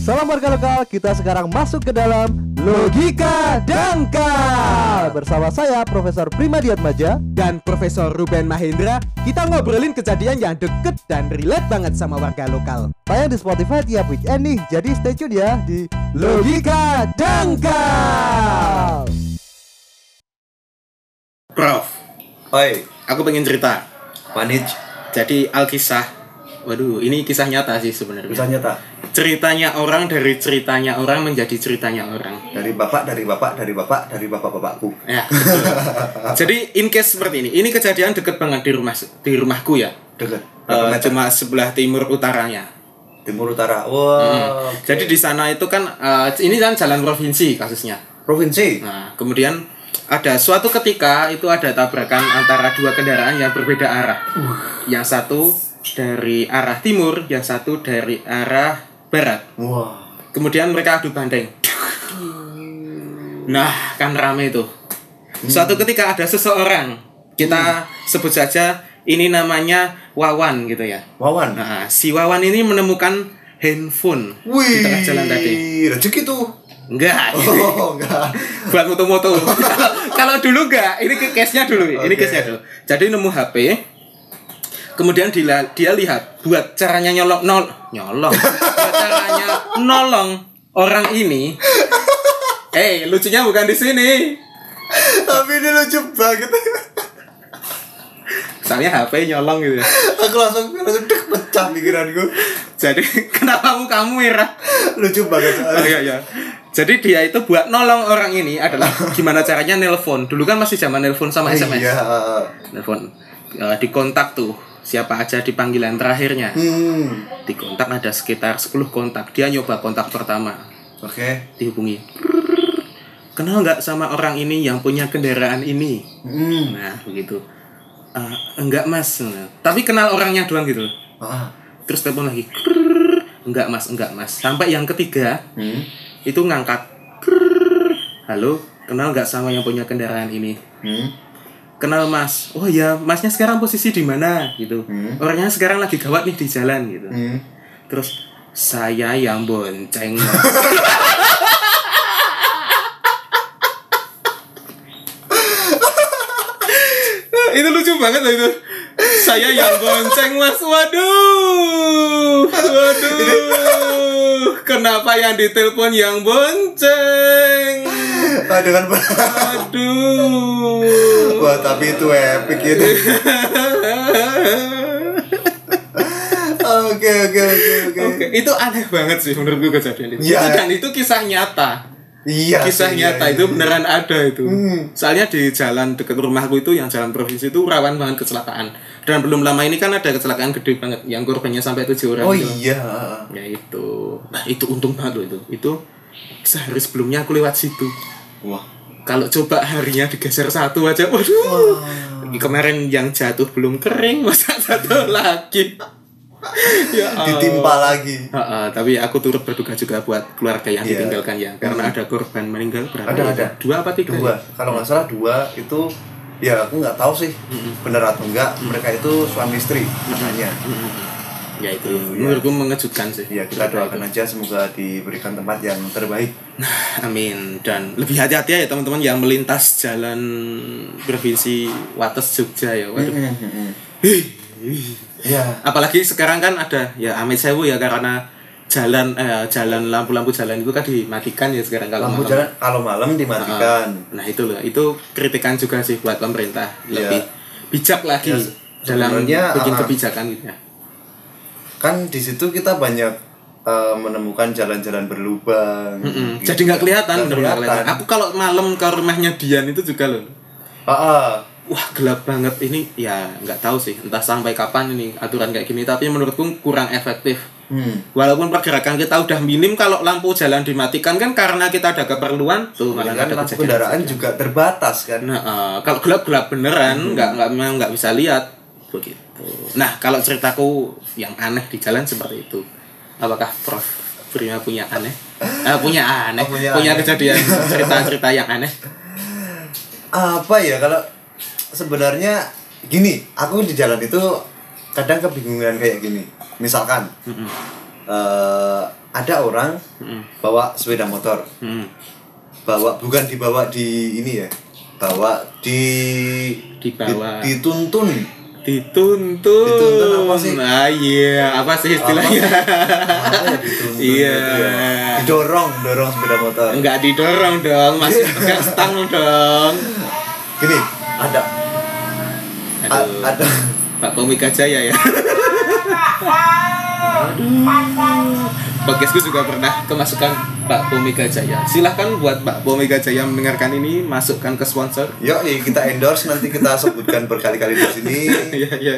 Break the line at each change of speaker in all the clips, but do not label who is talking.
Salam warga lokal, kita sekarang masuk ke dalam Logika Dangkal Bersama saya Profesor Prima Diatmaja
dan Profesor Ruben Mahendra, kita ngobrolin kejadian yang deket dan relate banget sama warga lokal.
Tayang di Spotify tiap weekend nih Jadi stay tune ya di Logika Dangkal
Prof,
Oi,
aku pengen cerita.
Manij,
Jadi Alkisah, waduh, ini kisah nyata sih sebenarnya.
misalnya tak
Ceritanya orang dari ceritanya orang menjadi ceritanya orang.
dari bapak, dari bapak, dari bapak, dari bapak bapakku.
Ya. betul. Jadi in case seperti ini, ini kejadian deket banget di rumah di rumahku ya.
Dekat.
Eh,
Berapa meter?
cuma sebelah timur utaranya.
Timur Utara. Wah. oke.
Jadi di sana itu kan eh, ini kan jalan provinsi kasusnya.
provinsi.
Nah, kemudian ada suatu ketika itu ada tabrakan antara dua kendaraan yang berbeda arah.
Uh.
Yang satu dari arah timur, yang satu dari arah barat.
Wah.
Kemudian mereka adu banding. Nah, kan rame itu.
Hmm.
Suatu ketika ada seseorang, kita sebut saja ini namanya Wawan gitu ya.
Wawan.
Nah, si Wawan ini menemukan handphone di
Wih.
tengah jalan tadi.
Rezeki tuh.
Enggak.
Oh, enggak.
buat moto-moto. Kalau dulu enggak, ini ke case-nya dulu. Ini
Oke.
case-nya dulu. Jadi nemu HP, kemudian dia, dia lihat buat caranya nyolong nol nyolong. buat caranya nolong orang ini. Eh, lucunya bukan di sini.
Tapi ini lucu banget.
Soalnya HP nyolong gitu. ya.
aku langsung langsung dek pecah pikiranku.
Jadi kenapa mukamu merah?
Lucu banget.
Oh, iya, iya. Jadi dia itu buat nolong orang ini adalah gimana caranya nelpon. Dulu kan masih zaman nelpon sama SMS.
Iya.
telepon eh, di kontak tuh siapa aja di panggilan terakhirnya
Hmm.
di kontak ada sekitar 10 kontak dia nyoba kontak pertama
Oke.
dihubungi Prrrr. kenal nggak sama orang ini yang punya kendaraan ini
Hmm.
nah begitu "Eh, enggak mas Nah, tapi kenal orangnya doang gitu
Ah.
terus telepon lagi Prrrr. enggak mas enggak mas sampai yang ketiga
Hmm.
itu ngangkat Prrrr. halo kenal nggak sama yang punya kendaraan ini
Hmm.
kenal mas oh ya masnya sekarang posisi di mana gitu
Hmm.
orangnya sekarang lagi gawat nih di jalan gitu
Hmm.
terus saya yang bonceng itu lucu banget loh itu saya yang bonceng mas waduh waduh kenapa yang ditelepon yang bonceng
Ah, dengan
aduh
Wah, tapi itu epic itu. Oke, oke, oke, oke.
Oke, itu aneh banget sih menurut gue kejadian itu.
Iya.
Itu- Dan itu kisah nyata.
Iya.
kisah
iya,
nyata
iya.
itu beneran ada itu.
Hmm.
Soalnya di jalan dekat rumahku itu yang jalan provinsi itu rawan banget kecelakaan. Dan belum lama ini kan ada kecelakaan gede banget yang korbannya sampai tujuh orang.
Oh
gitu.
iya.
Ya itu. Nah, itu untung banget loh itu. Itu sehari sebelumnya aku lewat situ.
Wah.
Kalau coba harinya digeser satu aja, waduh. Kemarin yang jatuh belum kering, masa jatuh lagi. ya Allah.
Ditimpa lagi.
Ha-ha, tapi aku turut berduka juga buat keluarga yang
Iya.
ditinggalkan ya karena ada korban meninggal berapa
Ada,
ya?
ada.
dua apa tiga
Dua.
ya?
Kalau nggak salah dua itu ya aku nggak tahu sih bener atau enggak mereka itu suami istri makanya
ya itu
Iya.
menurutku mengejutkan sih
ya kita
iya.
doakan aja semoga diberikan tempat yang terbaik
Nah, amin dan lebih hati-hati ya teman-teman yang melintas jalan provinsi Wates Jogja ya waduh
ya
apalagi sekarang kan ada ya amit sewu ya karena jalan eh, jalan lampu-lampu jalan itu kan dimatikan ya sekarang kalau
lampu
malam. Ah.
jalan kalau malam dimatikan
Nah itu loh, itu kritikan juga sih buat pemerintah
Iya.
lebih bijak lagi
Ya, se-
dalam
sebenarnya,
bikin
ah,
kebijakan gitu ya.
kan di situ kita banyak eh, menemukan jalan-jalan berlubang.
Mm-mm.
gitu.
Jadi nggak kelihatan,
Nggak
bener-bener nggak kelihatan.
kelihatan.
Aku kalau malam ke rumahnya Dian itu juga loh,
Ah, ah.
wah gelap banget ini. Ya nggak tahu sih, entah sampai kapan ini aturan kayak gini. Tapi menurutku kurang efektif.
Hmm.
Walaupun pergerakan kita udah minim, kalau lampu jalan dimatikan kan karena kita ada keperluan tuh malah
Kan
ada
lampu
kejadian.
kendaraan juga Hmm. terbatas kan.
Nah, eh, kalau gelap gelap beneran, nggak nggak memang nggak bisa lihat begitu. Nah, kalau ceritaku yang aneh di jalan seperti itu, apakah Prof Prima punya aneh? Eh, punya aneh,
Oh, punya
punya,
aneh.
kejadian cerita-cerita yang aneh.
Apa ya kalau sebenarnya gini, aku di jalan itu kadang kebingungan kayak gini. Misalkan eh, ada orang bawa sepeda motor
Hmm.
bawa bukan dibawa di ini ya bawa di
Dibawa.
di- dituntun
Dituntun.
Dituntun apa sih?
Ah iya, apa sih istilahnya?
Apa ya dituntun
Iya.
gitu ya? didorong dorong sepeda motor
Enggak didorong dong, masih pegang stang dong.
gini ada a-
Aduh.
ada
Pak Komika Jaya ya. Podcastku juga pernah kemasukan Pak Komika Jaya. Silahkan buat Pak Komika Jaya mendengarkan ini masukkan ke sponsor.
yuk ya kita endorse nanti kita sebutkan berkali-kali di sini
Iya iya.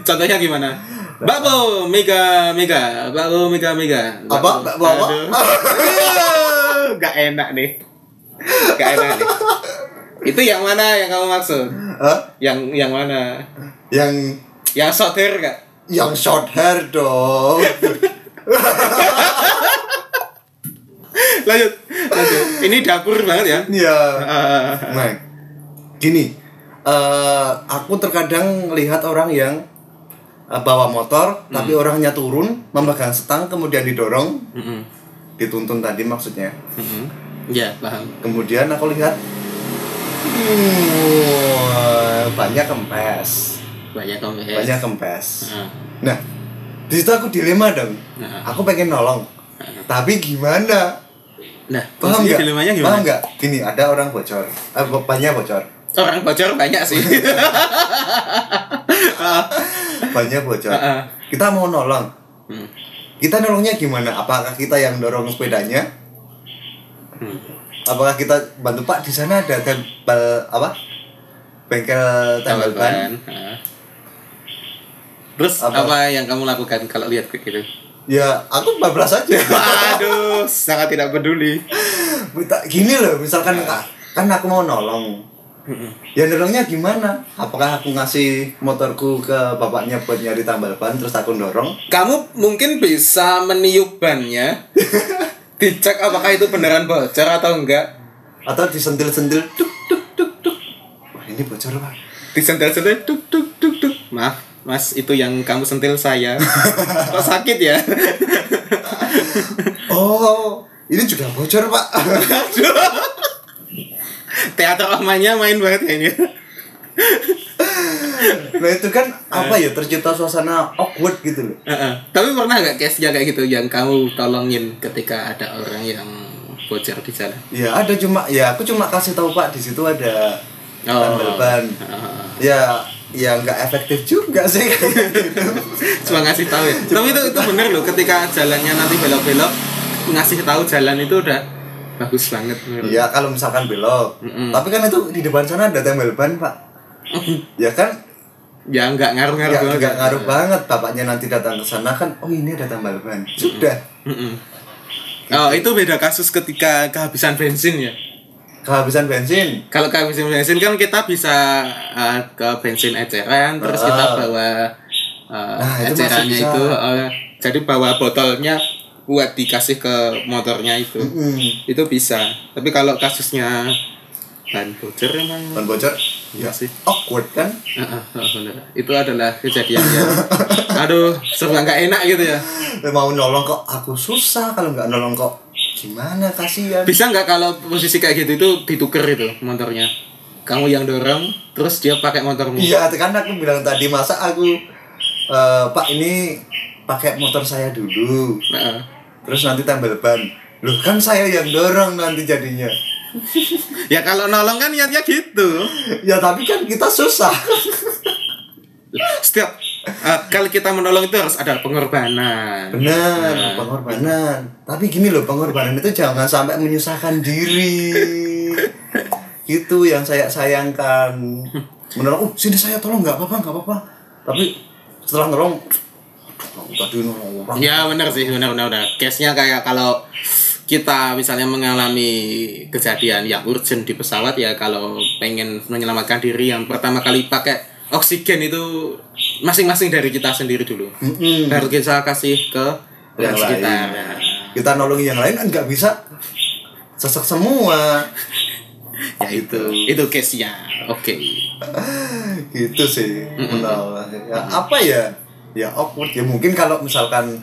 Contohnya gimana? Mbak Po, Mega, Mega, Mbak Po, Mega, Mega. Mbak
Apa?
Po.
Mbak Po, apa?
Aduh. Aduh, Gak enak nih. Gak enak nih. Itu yang mana yang kamu maksud?
Hah?
Yang yang mana?
yang
Yang sotir gak?
yang short hair dong
lanjut lanjut ini dapur banget ya
ya
Ah,
Nah, gini, eh, aku terkadang lihat orang yang eh, bawa motor, tapi orangnya turun, memegang setang, kemudian didorong,
mm-mm,
dituntun tadi maksudnya.
mm-mm. ya paham
Kemudian aku lihat, "Wah, "Hmm, banyak kempes,
banyak kamu Ah. ya
banyak kempes. Nah, di situ aku dilema dong.
Nah.
Aku pengen nolong, tapi gimana?
nah
Paham
maksudnya
nggak?
dilemanya gimana
Paham nggak? Gini, ada orang bocor, eh, banyak bocor.
orang bocor banyak sih
banyak bocor.
Heeh.
Kita mau nolong.
Hmm.
Kita nolongnya gimana? Apakah kita yang dorong sepedanya?
Hmm.
Apakah kita bantu Pak di sana ada tempel apa? Bengkel
tambah
tambal ban.
Ah. terus apa?
Apa?
yang kamu lakukan kalau lihat kayak gitu
Ya, aku bablas aja.
aduh sangat tidak peduli
Minta- Gini loh, misalkan Kak, kan aku mau nolong. Ya dorongnya gimana? Apakah aku ngasih motorku ke bapaknya buat nyari tambal ban terus aku dorong?
kamu mungkin bisa meniup bannya dicek apakah itu beneran bocor atau enggak
Atau disentil-sentil duk duk duk duk. Wah, ini bocor, Pak.
disentil-sentil tuk tuk tuk tuk maaf mas itu yang kamu sentil saya kok sakit ya
Oh, ini juga bocor pak.
teater omanya main banget ya ini
nah itu kan apa ya tercipta suasana awkward gitu loh.
Heeh. tapi pernah nggak case nya kayak gitu yang kamu tolongin ketika ada orang yang bocor di jalan
Ya ada cuma ya aku cuma kasih tahu pak di situ ada
Oh.
tambal ban.
Heeh.
Ya ya nggak efektif juga sih kayak gitu.
cuma ngasih tahu ya tapi itu itu bener loh ketika jalannya nanti belok belok ngasih tahu jalan itu udah bagus banget menurut.
Ya kalau misalkan belok,
Mm-mm.
tapi kan itu di depan sana ada tambal ban pak. ya kan
ya nggak ngaruh ya. ngaruh
nggak Iya, nggak ngaruh banget bapaknya nanti datang ke sana kan oh ini ada tambal ban sudah
oh itu beda kasus ketika kehabisan bensin ya
kehabisan bensin
kalau kehabisan bensin kan kita bisa uh, ke bensin eceran terus kita
Ah.
bawa uh,
Nah, itu masih
ecerannya
bisa.
itu uh, jadi bawa botolnya buat dikasih ke motornya itu
Mm-mm.
itu bisa tapi kalau kasusnya ban bocor emang
ban bocor ya
Iya sih.
awkward kan
Ah, ah, ah, bener. itu adalah kejadian yang aduh serba nggak enak gitu ya
mau nolong kok aku susah kalau nggak nolong kok gimana kasihan
bisa nggak kalau posisi kayak gitu itu ditukar itu motornya kamu yang dorong terus dia pakai motormu
iya kan aku bilang tadi masa aku eh, pak ini pakai motor saya dulu
Ah, ah.
terus nanti tambal ban loh kan saya yang dorong nanti jadinya
ya kalau nolong kan niatnya gitu
ya tapi kan kita susah
setiap eh, kali kita menolong itu harus ada pengorbanan
benar pengorbanan tapi gini loh pengorbanan itu jangan sampai menyusahkan diri itu yang saya sayangkan menolong oh sini saya tolong nggak apa-apa nggak apa-apa tapi setelah nolong "Aduh, tadi nolong orang
ya benar sih benar benar benar case nya kayak kalau kita misalnya mengalami kejadian yang urgent di pesawat ya kalau pengen menyelamatkan diri yang pertama kali pakai oksigen itu masing-masing dari kita sendiri dulu
Mm-mm.
baru kita kasih ke orang
yang ya. lain
sekitar
kita nolongin yang lain kan nggak bisa sesek semua
ya itu itu case nya oke
gitu sih menolong. Ya, apa ya ya awkward ya mungkin kalau misalkan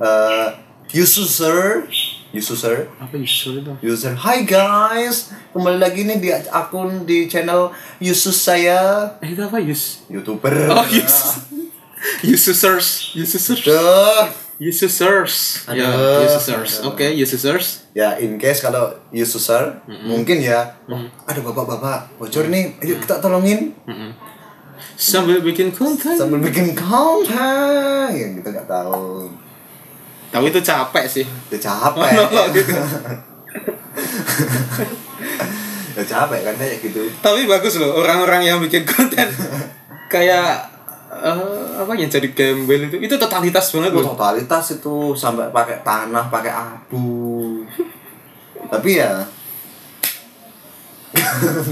eh, Yusu sir, Yusu sir,
Apa isu itu?
user Hi guys, kembali lagi nih di akun di channel Yusus saya
Eh, itu apa Yus?
youtuber.
Oh, Yus. Users, users,
Duh.
users. Ya,
Aduh.
users. Oke, users.
Ya in case kalau user mungkin ya. Oh, ada bapak-bapak bocor nih, ayo kita tolongin
Sambil bikin konten.
sambil bikin konten. Ya kita nggak tahu.
Tapi itu capek sih.
Udah capek.
Monolog gitu.
Udah capek kan kayak gitu.
Tapi bagus loh orang-orang yang bikin konten kayak eh, apa yang jadi gembel itu itu totalitas banget
Itu
loh.
totalitas itu sampai pakai tanah, pakai abu. Tapi ya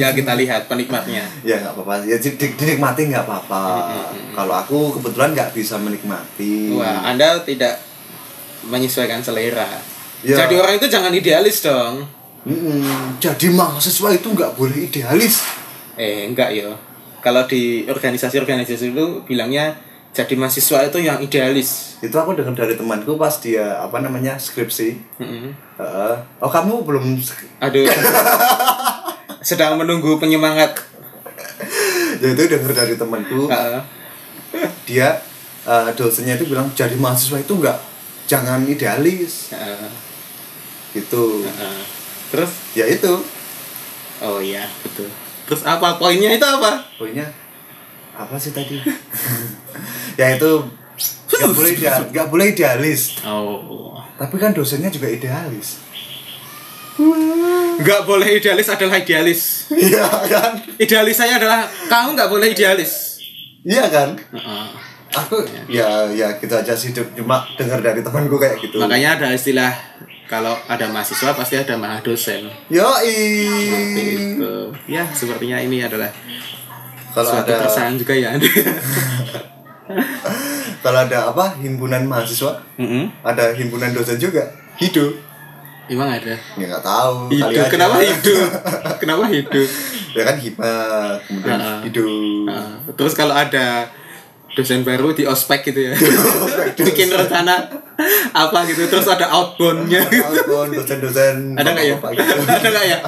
Ya kita lihat penikmatnya.
ya nggak apa-apa ya dinik- dinikmati nggak apa-apa
Hmm,
kalau aku kebetulan nggak bisa menikmati
Wah, Anda tidak menyesuaikan selera.
Ya.
Jadi orang itu jangan idealis dong.
Mm-mm. jadi mahasiswa itu nggak boleh idealis
Eh, enggak yo. Kalau di organisasi-organisasi itu bilangnya jadi mahasiswa itu yang idealis.
itu aku dengar dari temanku pas dia apa namanya skripsi
Mm-mm.
Heeh. oh kamu belum
Aduh. Sedang menunggu penyemangat.
ya itu dengar dari temanku
Heeh.
dia eh, dosennya itu bilang jadi mahasiswa itu nggak jangan idealis
Heeh.
gitu
Heeh. Terus
ya itu
oh iya, betul. Terus apa poinnya itu apa?
pokoknya apa sih tadi ya itu nggak boleh idea- nggak boleh idealis
Oh.
Tapi kan dosennya juga idealis.
Enggak boleh idealis adalah idealis.
Iya kan?
Idealis saya adalah kamu enggak boleh idealis.
Iya kan?
Heeh.
Aku ya ya gitu aja sih Dep. cuma dengar dari temanku kayak gitu.
Makanya ada istilah kalau ada mahasiswa pasti ada mahadosen.
Yoi.
Seperti itu. Ya, sepertinya ini adalah
Kalau
suatu
ada
keresahan juga ya.
kalau ada apa himpunan mahasiswa,
Mm-mm.
ada himpunan dosen juga. Hidup.
Emang ada.
Ya nggak tahu. kali
Hidup.
aja.
Kenapa hidup? Kenapa hidup?
ya kan hibah, kemudian
Ah, ah.
hidup.
Nah, terus kalau ada dosen baru di ospek gitu ya. Bikin rencana apa gitu. Terus ada outbound-nya.
Telepon dosen-dosen.
ada nggak ya?
bapak-bapak gitu.
ada nggak ya?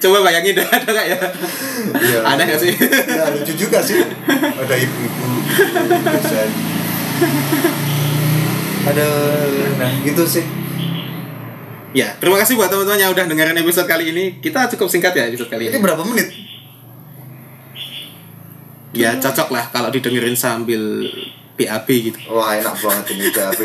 Coba bayangin deh, ada nggak ya?
Iya.
Ada nggak sih?
Ya lucu juga sih. Ada ibu-ibu dosen. Ada nah gitu sih.
Ya, terima kasih buat teman-teman yang udah dengerin episode kali ini. Kita cukup singkat ya episode kali ini.
Ini berapa menit?
Ya, cocok lah kalau didengerin sambil PAB gitu.
Wah enak banget ini BAB.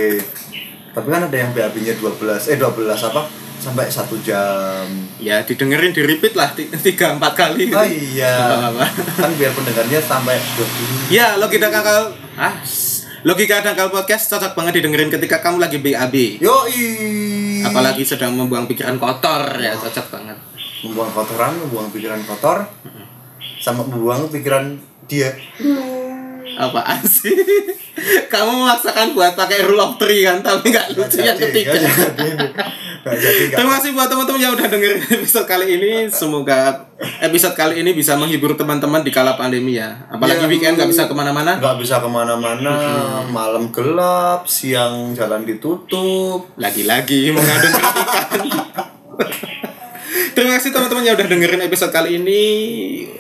Tapi kan ada yang BAB-nya 12 eh 12 apa? Sampai 1 jam.
Ya, didengerin di repeat lah ti- tiga empat kali. gitu.
Oh iya.
Apa-apa.
Kan biar pendengarnya sampai 20.
Ya, logika dangkal ah s- logika dangkal podcast cocok banget didengerin ketika kamu lagi BAB.
Yoi.
Apalagi sedang membuang pikiran kotor ya, cocok banget.
membuang kotoran, membuang pikiran kotor sama membuang pikiran dia.
Apaan sih? Kamu memaksakan buat pakai rule of three kan, tapi nggak lucu yang
Jadi,
ketiga.
nggak jadi ini. Nggak jadi, nggak
Terima kasih buat teman-teman yang udah dengerin episode kali ini. Semoga episode kali ini bisa menghibur teman-teman di kala pandemi ya. Apalagi
Ya.
weekend nggak bisa kemana-mana. Mm-hmm.
nggak bisa kemana-mana malam gelap siang jalan ditutup
Lagi-lagi mengadu kritikan. Terima kasih teman-teman yang udah dengerin episode kali ini.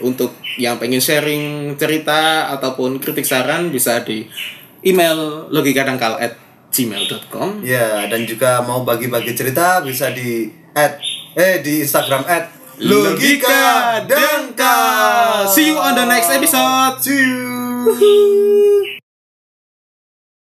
Untuk yang pengen sharing cerita ataupun kritik saran bisa di email logikadangkal at gmail.com
ya dan juga mau bagi-bagi cerita bisa di at eh di Instagram at
Logika
Dangkal
See you on the next episode.
see you